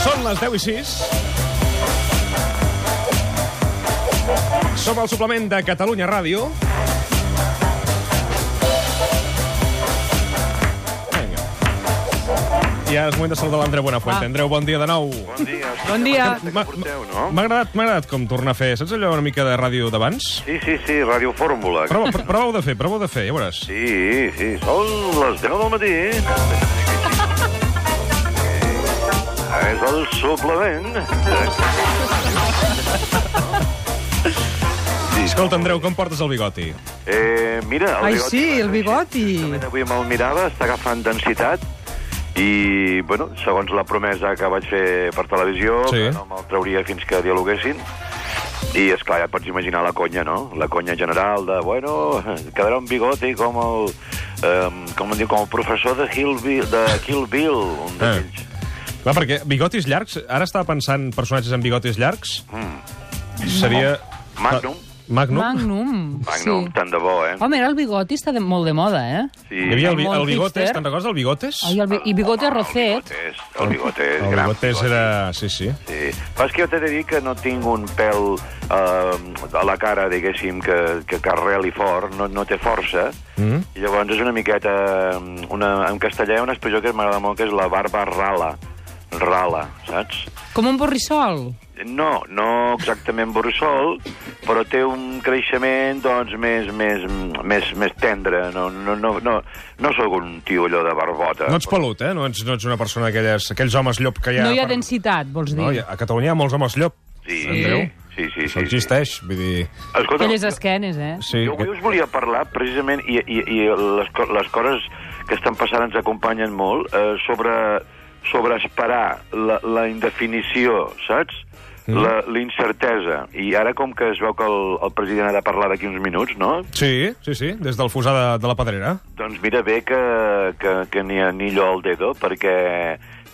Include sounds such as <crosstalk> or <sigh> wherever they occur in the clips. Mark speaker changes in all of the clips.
Speaker 1: Són les 10 i 6. Som al suplement de Catalunya Ràdio. Vinga. I ara és moment de saludar l'Andreu Buenafuente.
Speaker 2: Ah.
Speaker 1: Andreu, bon dia de nou.
Speaker 3: Bon dia. Hosti,
Speaker 2: Bon dia.
Speaker 3: Que
Speaker 1: Ma-
Speaker 3: porteu, no?
Speaker 1: M'ha agradat, m'ha agradat com tornar a fer, saps allò una mica de ràdio d'abans?
Speaker 3: Sí, sí, sí, Ràdio Fórmula.
Speaker 1: Prova, pr- prova-ho de fer, prova-ho de fer, ja veuràs.
Speaker 3: Sí, sí, són les 10 del <laughs> matí. Eh, És el suplement. Sí,
Speaker 1: Escolta, Andreu, com portes el bigoti?
Speaker 3: Eh, mira, el
Speaker 2: Ai,
Speaker 3: bigoti.
Speaker 2: sí, el bigoti.
Speaker 3: Justament Avui me'l mirava, està agafant densitat i, bueno, segons la promesa que vaig fer per televisió,
Speaker 1: Sí.
Speaker 3: que no me'l trauria fins que dialoguessin, i, és clar ja et pots imaginar la conya, no? La conya general de, bueno, quedarà un bigoti com el, eh, com, en diu, com el professor de, Hill Bill, de Kill Bill,
Speaker 1: Eh.
Speaker 3: un d'aquells.
Speaker 1: Clar, perquè bigotis llargs, ara estava pensant personatges amb bigotis llargs,
Speaker 3: Mm.
Speaker 1: seria...
Speaker 3: Magnum.
Speaker 1: Magnum.
Speaker 2: Magnum.
Speaker 3: Magnum,
Speaker 2: Sí.
Speaker 3: tant de bo, eh?
Speaker 2: Home, era el bigoti està de, molt de moda, eh?
Speaker 3: Sí.
Speaker 1: Hi havia el, bi-
Speaker 2: Molt
Speaker 1: el bigotes,
Speaker 2: hipster.
Speaker 1: te'n recordes del bigotes?
Speaker 2: Ai, el, bi- I bigoti
Speaker 3: Ah,
Speaker 2: arrocet.
Speaker 3: bigotes, El bigotes,
Speaker 1: El
Speaker 3: gran
Speaker 1: bigotes era... Sí, sí.
Speaker 3: Sí. Però és que jo t'he de dir que no tinc un pèl eh, a la cara, diguéssim, que, que, que arreli fort, no, no té força.
Speaker 1: Mm.
Speaker 3: I llavors és una miqueta... eh, Una, en castellà hi ha una expressió que m'agrada molt, que és la barba rala. Rala, saps?
Speaker 2: Com un borrissol.
Speaker 3: No, no exactament borrissol, però té un creixement doncs, més, més, més, més tendre. No, no, no, no, no sóc un tio allò de barbota.
Speaker 1: No ets pelut, eh? No ets, no ets una persona d'aquelles... Aquells homes llop que hi ha...
Speaker 2: No hi ha
Speaker 1: per-
Speaker 2: densitat, vols dir.
Speaker 1: No, hi ha- a Catalunya hi ha molts homes llop.
Speaker 3: Sí,
Speaker 1: Andreu?
Speaker 3: sí,
Speaker 1: Això
Speaker 3: sí. sí, sí.
Speaker 1: existeix, vull dir...
Speaker 3: Escolta,
Speaker 2: Aquelles esquenes, eh?
Speaker 1: Sí,
Speaker 3: Jo avui
Speaker 1: que...
Speaker 3: us volia parlar, precisament, i, i, i les, co- les coses que estan passant ens acompanyen molt, eh, sobre, sobre esperar la, la indefinició, saps? La- L'incertesa. I ara, com que es veu que el, el president ha de parlar d'aquí uns minuts, no?
Speaker 1: sí, sí, sí, des del fusar de, de la pedrera.
Speaker 3: Doncs mira bé que, que, que ni anillo al dedo, perquè,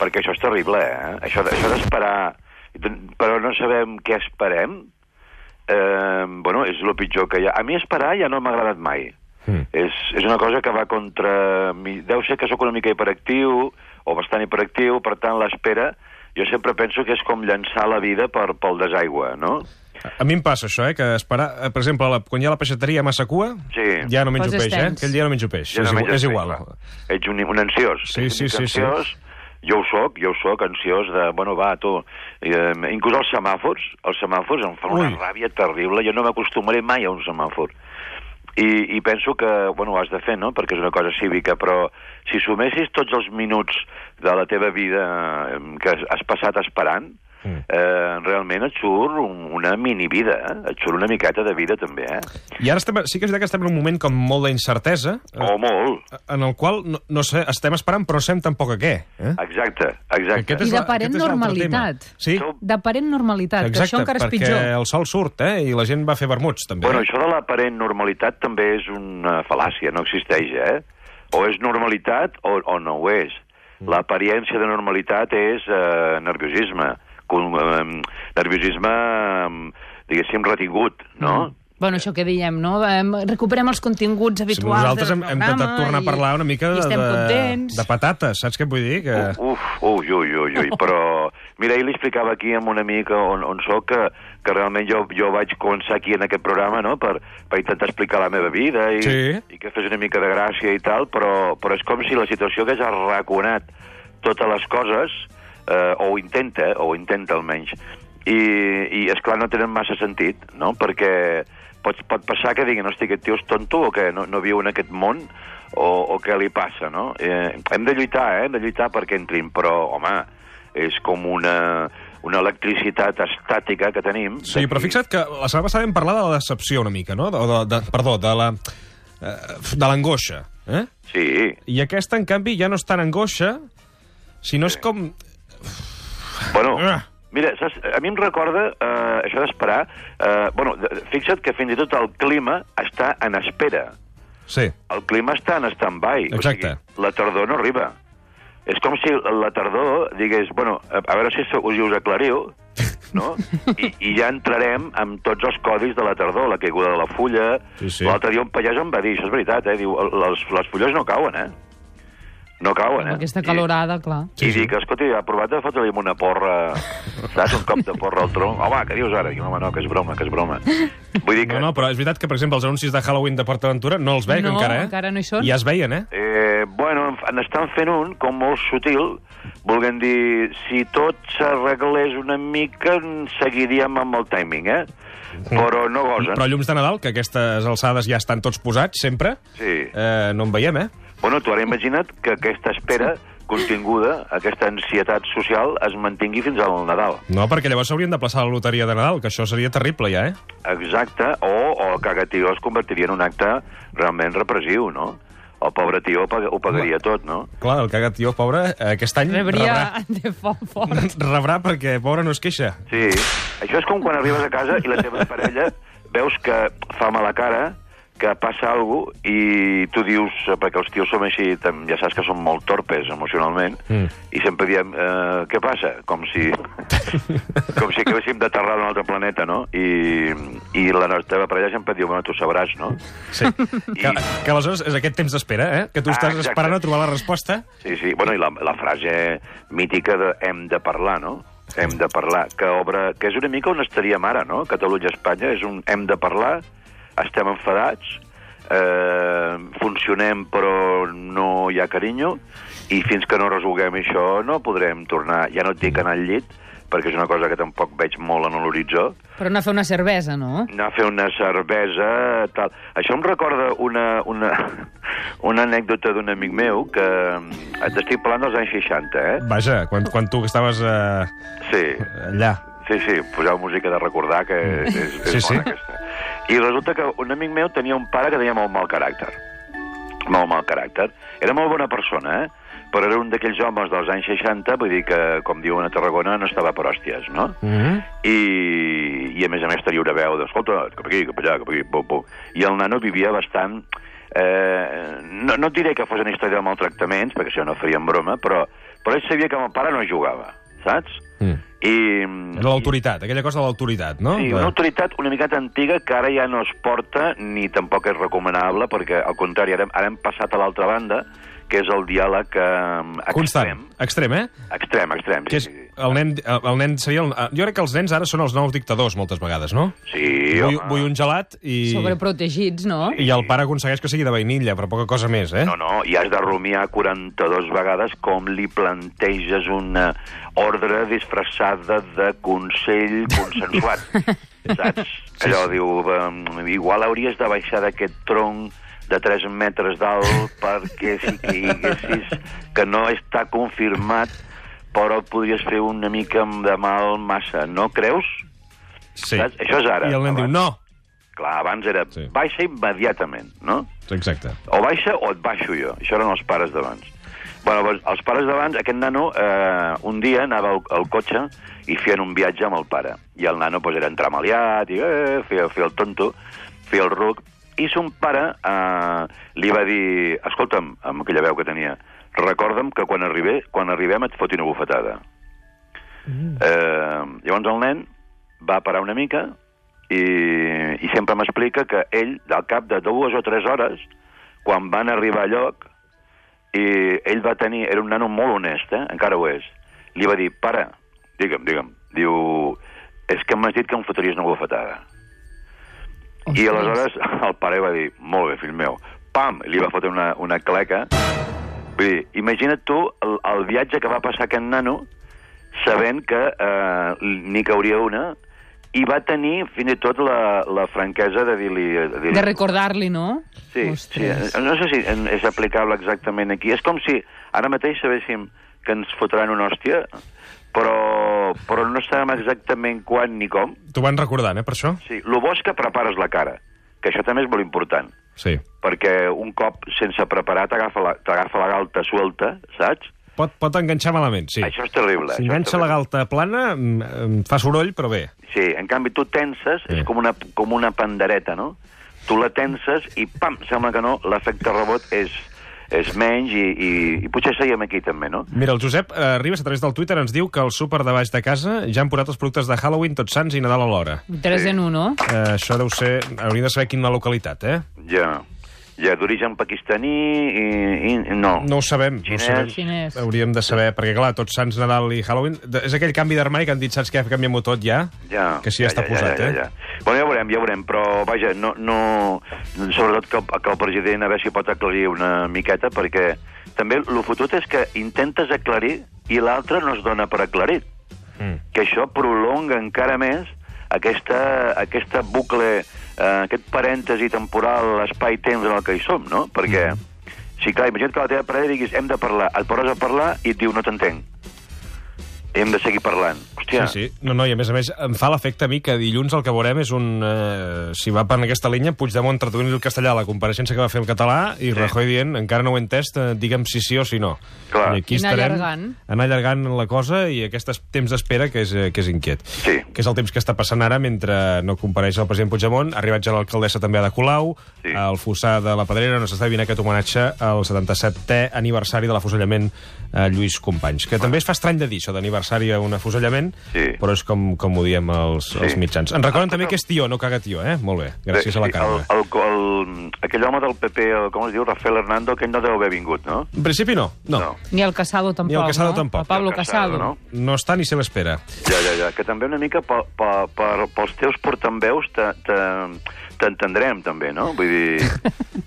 Speaker 3: perquè això és terrible, eh? Això, de- això d'esperar... Però no sabem què esperem. Eh, bueno, és el pitjor que hi ha. A mi esperar ja no m'ha agradat mai.
Speaker 1: Mm.
Speaker 3: És, és una cosa que va contra... Mi... Deu ser que sóc una mica hiperactiu, o bastant hiperactiu, per tant, l'espera... Jo sempre penso que és com llançar la vida per, pel desaigüe, no?
Speaker 1: A mi em passa això, eh, que esperar... eh, Per exemple, la, quan hi ha la peixateria a Massacua,
Speaker 3: Sí.
Speaker 1: ja no menjo
Speaker 2: Poses
Speaker 1: peix, eh?
Speaker 2: tens.
Speaker 1: Aquell dia no menjo peix.
Speaker 3: Ja
Speaker 1: és,
Speaker 3: no
Speaker 1: igual,
Speaker 3: menges
Speaker 1: és
Speaker 3: peix,
Speaker 1: igual.
Speaker 3: clar. Ets un, un ansiós.
Speaker 1: Sí,
Speaker 3: Ets
Speaker 1: sí,
Speaker 3: un mica
Speaker 1: sí, sí.
Speaker 3: Ansiós. Jo ho soc, jo ho soc, ansiós de... Bueno, va, tu... Eh, inclús els semàfors, els semàfors em fan
Speaker 1: Ui.
Speaker 3: una ràbia terrible. Jo no m'acostumaré mai a un semàfor. I, I penso que, bueno, ho has de fer, no?, perquè és una cosa cívica, però si sumessis tots els minuts de la teva vida eh, que has- has passat esperant,
Speaker 1: Mm.
Speaker 3: eh, realment et surt un, una minivida, eh? et surt una miqueta de vida, també, eh?
Speaker 1: I ara estem, sí que és veritat que estem en un moment com molt d'incertesa, eh,
Speaker 3: O molt.
Speaker 1: en el qual no, no sé, estem esperant, però no sabem tampoc a què. Eh?
Speaker 3: Exacte, exacte.
Speaker 1: Aquest
Speaker 2: I
Speaker 1: la-
Speaker 2: d'aparent
Speaker 1: aquest és l'altre
Speaker 2: normalitat.
Speaker 1: tema. Sí,
Speaker 3: Som-
Speaker 2: D'aparent normalitat, que això encara és
Speaker 1: perquè
Speaker 2: pitjor.
Speaker 1: el sol surt, eh? I la gent va fer vermuts, també.
Speaker 3: Bueno, això de l'aparent normalitat també és una fal·làcia, no existeix, eh? O és normalitat o, o no ho és. L'apariència de normalitat és eh, nerviosisme, com, eh, nerviosisme, eh, diguéssim, retingut, no?
Speaker 2: Bueno, això que diem, no? Em- Recuperem els continguts
Speaker 1: Si
Speaker 2: habituals
Speaker 1: nosaltres
Speaker 2: del
Speaker 1: hem, hem intentat
Speaker 2: programa
Speaker 1: tornar a
Speaker 2: i-
Speaker 1: parlar una mica
Speaker 2: i
Speaker 1: de,
Speaker 2: estem
Speaker 1: de,
Speaker 2: contents. Oh,
Speaker 1: de patates, saps què et vull dir? Que...
Speaker 3: Uf, ui, ui, ui, ui, però... Mira, ahir li explicava aquí amb una amica on, on sóc que, que realment jo, jo vaig començar aquí en aquest programa, no?, per, per intentar explicar la meva vida i,
Speaker 1: Sí.
Speaker 3: i que fes una mica de gràcia i tal, però, però és com si la situació hagués arraconat totes les coses, eh, o ho intenta, o ho intenta almenys, i, i és clar no tenen massa sentit, no?, perquè pot, pot passar que diguin, hosti, aquest tio és tonto o que no, no viu en aquest món, o, o què li passa, no? Eh, hem de lluitar, eh?, hem de lluitar perquè entrin, però, home, és com una, una electricitat estàtica que tenim.
Speaker 1: Sí, però
Speaker 3: D'aquí-
Speaker 1: fixa't que la setmana passada vam parlar de la decepció una mica, no? De, de, de, perdó, de la... eh, de l'angoixa, eh?
Speaker 3: Sí,
Speaker 1: I aquesta, en canvi, ja no és tan angoixa, sinó és com...
Speaker 3: Bueno,
Speaker 1: Ah.
Speaker 3: mira, saps, a mi em recorda eh, això d'esperar... Eh, bueno, de- fixa't que fins i tot el clima està en espera.
Speaker 1: Sí.
Speaker 3: El clima està en stand-by.
Speaker 1: Exacte.
Speaker 3: O sigui, la tardor no arriba. És com si la tardor digués, bueno, a a veure si us, si us aclariu, no?
Speaker 1: <laughs>
Speaker 3: I, I ja entrarem amb tots els codis de la tardor, la caiguda de la fulla...
Speaker 1: Sí, sí.
Speaker 3: L'altre dia un pallàs em va dir, això és veritat, eh? Diu, "El- les, les fulles no cauen, eh? No cauen, eh?
Speaker 2: Amb aquesta calorada, clar.
Speaker 3: I, i dic, escolta, ha provat de fotre-li amb una porra, saps, un cop de porra al tronc. Home, què dius ara? Dic, home, no, que és broma, que és broma. Vull dir que...
Speaker 1: No, no, però és veritat que, per exemple, els anuncis de Halloween de PortAventura no els veig
Speaker 2: No,
Speaker 1: encara, eh?
Speaker 2: encara no hi són.
Speaker 1: Ja es veien, eh?
Speaker 3: Eh, bueno, en- n'estan fent un com molt sutil, volguem dir, si tot s'arreglés una mica, en seguiríem amb el timing, eh? Però no gosen.
Speaker 1: Però llums de Nadal, que a aquestes alçades ja estan tots posats, sempre,
Speaker 3: Sí.
Speaker 1: eh, no en veiem, eh?
Speaker 3: Bueno, tu ara imagina't que aquesta espera continguda, aquesta ansietat social, es mantingui fins al Nadal.
Speaker 1: No, perquè llavors s'haurien de plaçar la loteria de Nadal, que això seria terrible ja, eh?
Speaker 3: Exacte, o, o que aquest tio es convertiria en un acte realment repressiu, no? El pobre tio ho pag- ho pagaria tot, no?
Speaker 1: Clar, el cagat tio, pobre, eh, aquest any
Speaker 2: Rebria
Speaker 1: <laughs>
Speaker 2: de foc fort.
Speaker 1: rebrà, <laughs> rebrà perquè, pobre, no es queixa.
Speaker 3: Sí. Això és com quan arribes a casa i la teva parella veus que fa mala cara, que passa alguna cosa, i tu dius, eh, perquè els tios som així, tam- ja saps que som molt torpes emocionalment,
Speaker 1: Mm.
Speaker 3: mm. i sempre diem, eh, què passa? Com si, com si acabéssim d'aterrar d'un altre planeta, no? I, I la nostra teva parella sempre diu, bueno, tu sabràs, no? <laughs>
Speaker 1: Sí. Que, que aleshores és aquest temps d'espera, eh? Que tu
Speaker 3: Ah,
Speaker 1: estàs
Speaker 3: exacte.
Speaker 1: esperant a trobar la resposta.
Speaker 3: Sí, sí. Bueno, i la, la frase mítica de hem de parlar, no? Hem de parlar, que obre... que és una mica on estaríem ara, no? Catalunya-Espanya és un hem de parlar, estem enfadats, eh, funcionem però no hi ha carinyo, i fins que no resolguem això no podrem tornar, ja no et dic anar al llit, perquè és una cosa que tampoc veig molt en l'horitzó,
Speaker 2: Però anar a fer una cervesa, no?
Speaker 3: anar a fer una cervesa, tal. Això em recorda una, una, <laughs> una anècdota d'un amic meu que eh, t'estic parlant dels anys 60, eh?
Speaker 1: Vaja, quan, quan tu estaves eh,
Speaker 3: Sí,
Speaker 1: allà.
Speaker 3: sí, sí, poseu música de recordar que és, és
Speaker 1: Sí,
Speaker 3: bona
Speaker 1: sí.
Speaker 3: aquesta. I resulta que un amic meu tenia un pare que tenia molt mal caràcter. Molt mal caràcter. Era molt bona persona, eh? Però era un d'aquells homes dels anys 60, vull dir que, com diuen a Tarragona, no estava per hòsties, no?
Speaker 1: Mm -hmm.
Speaker 3: i, i a més a més tenia una veu d'escolta, cap aquí, cap allà, cap aquí, pum, pum. I el nano vivia bastant... Eh, no, no et diré que fos una història de maltractaments, perquè això no faríem broma, però, però ell sabia que amb el pare no jugava, saps?
Speaker 1: Mm.
Speaker 3: I,
Speaker 1: Era l'autoritat, aquella cosa de l'autoritat, no?
Speaker 3: Sí,
Speaker 1: De-
Speaker 3: una autoritat una miqueta antiga que ara ja no es porta ni tampoc és recomanable, perquè al contrari, ara, hem- ara hem passat a l'altra banda, que és el diàleg eh,
Speaker 1: Constant,
Speaker 3: extrem.
Speaker 1: extrem, eh?
Speaker 3: Extrem, extrem.
Speaker 1: Que és,
Speaker 3: sí, sí, sí.
Speaker 1: el, nen, el, el nen seria... El, eh, jo crec que els nens ara són els nous dictadors, moltes vegades, no?
Speaker 3: Sí,
Speaker 1: vull,
Speaker 3: home.
Speaker 1: vull un gelat i...
Speaker 2: Sobreprotegits, no?
Speaker 1: I el pare aconsegueix que sigui de vainilla, però poca cosa més, eh?
Speaker 3: No, no, i has de rumiar 42 vegades com li planteges una ordre disfressada de
Speaker 1: <laughs>
Speaker 3: consell consensuat. Saps? Allò diu, "Em, igual hauries de baixar d'aquest tronc de 3 metres d'alt perquè si que diguessis que no està confirmat però et podries fer una mica de mal massa, no creus?
Speaker 1: sí.
Speaker 3: saps? Això és ara.
Speaker 1: I el nen diu,
Speaker 3: Abans.
Speaker 1: no!
Speaker 3: Clar, abans era
Speaker 1: Sí.
Speaker 3: baixa immediatament, no?
Speaker 1: Exacte.
Speaker 3: o baixa o et baixo jo. Això eren els pares d'abans. Bueno, doncs, els pares d'abans, aquest nano, eh, un dia anava al, al cotxe i feien un viatge amb el pare. I el nano pues, era entramaliat, i eh, feia, feia el tonto, feia el ruc. I son pare eh, li va dir, escolta'm, amb aquella veu que tenia, recorda'm que quan, arribé, quan arribem et foti una bufetada. Eh, llavors el nen va parar una mica i, i sempre m'explica que ell, al cap de dues o tres hores, quan van arribar a lloc, i ell va tenir... Era un nano molt honest, eh? encara ho és. Li va dir, pare, digue'm, digue'm. Diu, és que m'has dit que em fotries una bufetada. I aleshores el pare va dir, molt bé, fill meu, pam, i li va fotre una, una cleca. Vull dir, imagina't tu el, el viatge que va passar aquest nano sabent que eh, n'hi cauria una i va tenir fins i tot la, la franquesa de dir-li... dir
Speaker 2: De recordar-li, no?
Speaker 3: Sí, sí,
Speaker 2: Ostres.
Speaker 3: no sé si en- és aplicable exactament aquí. És com si ara mateix sabéssim que ens fotran una hòstia, però, però no sabem exactament quan ni com.
Speaker 1: T'ho van recordant, eh, per això?
Speaker 3: Sí, lo bo és que prepares la cara, que això també és molt important,
Speaker 1: Sí.
Speaker 3: perquè un cop sense preparar t'agafa la, t'agafa la galta suelta, saps?
Speaker 1: Pot, pot enganxar malament, sí.
Speaker 3: Això és terrible.
Speaker 1: Si
Speaker 3: això és
Speaker 1: enganxa la
Speaker 3: terrible.
Speaker 1: galta plana, mm, mm, fa soroll, però bé.
Speaker 3: Sí, en canvi tu tenses,
Speaker 1: Sí.
Speaker 3: és com una, com una pandereta, no? Tu la tenses i pam, sembla que no, l'efecte rebot és, és menys i, i, i potser seiem aquí també, no?
Speaker 1: Mira, el Josep eh, Ribes, a través del Twitter, ens diu que al súper de baix de casa ja han posat els productes de Halloween, Tots Sants i Nadal alhora.
Speaker 2: Un 3 en 1, no?
Speaker 1: Eh, això deu ser... Hauríem de saber quina localitat, eh?
Speaker 3: Ja. ja d'origen pakistaní i, i no.
Speaker 1: No ho sabem. No ho
Speaker 3: Xinès.
Speaker 1: sabem.
Speaker 2: Xinès.
Speaker 1: Hauríem de saber, perquè clar, tots Sants, Nadal i Halloween... de- És aquell canvi d'armari que han dit, saps què, canviem-ho tot ja?
Speaker 3: Ja,
Speaker 1: Que sí, ja, està posat,
Speaker 3: ja,
Speaker 1: eh?
Speaker 3: ja, ja. Bueno, ja veurem, ja veurem, però vaja, no, no, sobretot que el, que el president a veure si pot aclarir una miqueta, perquè també el fotut és que intentes aclarir i l'altre no es dona per aclarit
Speaker 1: Mm.
Speaker 3: que això prolonga encara més aquesta, aquesta bucle, eh, aquest parèntesi temporal, l'espai-temps en el que hi som, no? Perquè,
Speaker 1: Mm.
Speaker 3: si clar, imagina't que la teva parella diguis hem de parlar, et poses a parlar i et diu no t'entenc. Hem de seguir parlant. Hòstia,
Speaker 1: Sí, sí. No, no, i a més a més em fa l'efecte a mi que dilluns el que veurem és un... Eh, si va per aquesta línia, Puigdemont traduint el castellà a la compareixença que va fer el català i sí. Rajoy dient, encara no ho he entès, eh, digue'm si sí o si no.
Speaker 3: Clar.
Speaker 1: I aquí
Speaker 2: I anar
Speaker 1: estarem
Speaker 2: allargant.
Speaker 1: anar allargant la cosa i aquest es- temps d'espera que, és, eh, que és inquiet.
Speaker 3: Sí.
Speaker 1: Que és el temps que està passant ara mentre no compareix el president Puigdemont, ha arribat ja l'alcaldessa també a de Colau,
Speaker 3: Sí.
Speaker 1: al Fossar de la Pedrera, on s'està vivint aquest homenatge al 77è aniversari de l'afusellament a Lluís Companys, que també es fa estrany de dir això d'aniversari a un afusellament,
Speaker 3: Sí.
Speaker 1: però és com, com ho diem els,
Speaker 3: Sí. Ah,
Speaker 1: els mitjans. Ens recorden també que és tió, no caga tió, eh? Molt bé, gràcies a la Carme.
Speaker 3: El, el, el, aquell home del PP, el, com es diu, Rafael Hernando, aquell no deu haver vingut, no?
Speaker 1: En principi no, no.
Speaker 3: No.
Speaker 2: Ni el Casado tampoc,
Speaker 1: Casado
Speaker 2: no?
Speaker 1: tampoc.
Speaker 2: El Pablo
Speaker 3: Ni el Casado,
Speaker 2: Casado.
Speaker 3: no?
Speaker 1: No està ni se l'espera.
Speaker 3: Ja, ja, ja, que també una mica per, per, per, pels teus portaveus te- te- t'entendrem, també, no? Vull
Speaker 1: <laughs>
Speaker 3: dir,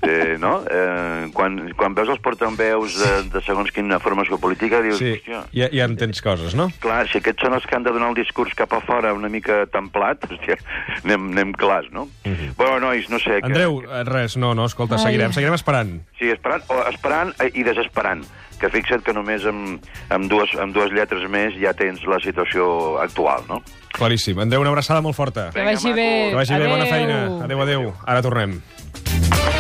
Speaker 3: eh, no? Eh, quan, quan veus els portaveus de, de segons quina formació política, dius,
Speaker 1: Sí,
Speaker 3: sí. hòstia,
Speaker 1: ja, ja entens coses, no?
Speaker 3: clar, si aquests són els que han de donar el discurs cap a fora una mica templat, hòstia, anem, anem clars, no? Mm -hmm. Bueno, nois, no sé...
Speaker 1: Mhm.
Speaker 3: que-
Speaker 1: Andreu, eh, res, no, no, escolta,
Speaker 2: Ai.
Speaker 1: seguirem, seguirem esperant.
Speaker 3: Sí, esperant, o esperant eh, i desesperant. Que fixa't que només amb, amb, dues, amb dues lletres més ja tens la situació actual, no?
Speaker 1: Claríssim. Andreu, una abraçada molt forta.
Speaker 2: Que
Speaker 3: Vinga,
Speaker 2: vagi
Speaker 3: maco.
Speaker 2: bé.
Speaker 1: Que vagi bé, bona
Speaker 2: Adeu.
Speaker 1: feina. Adéu, adéu. Ara tornem.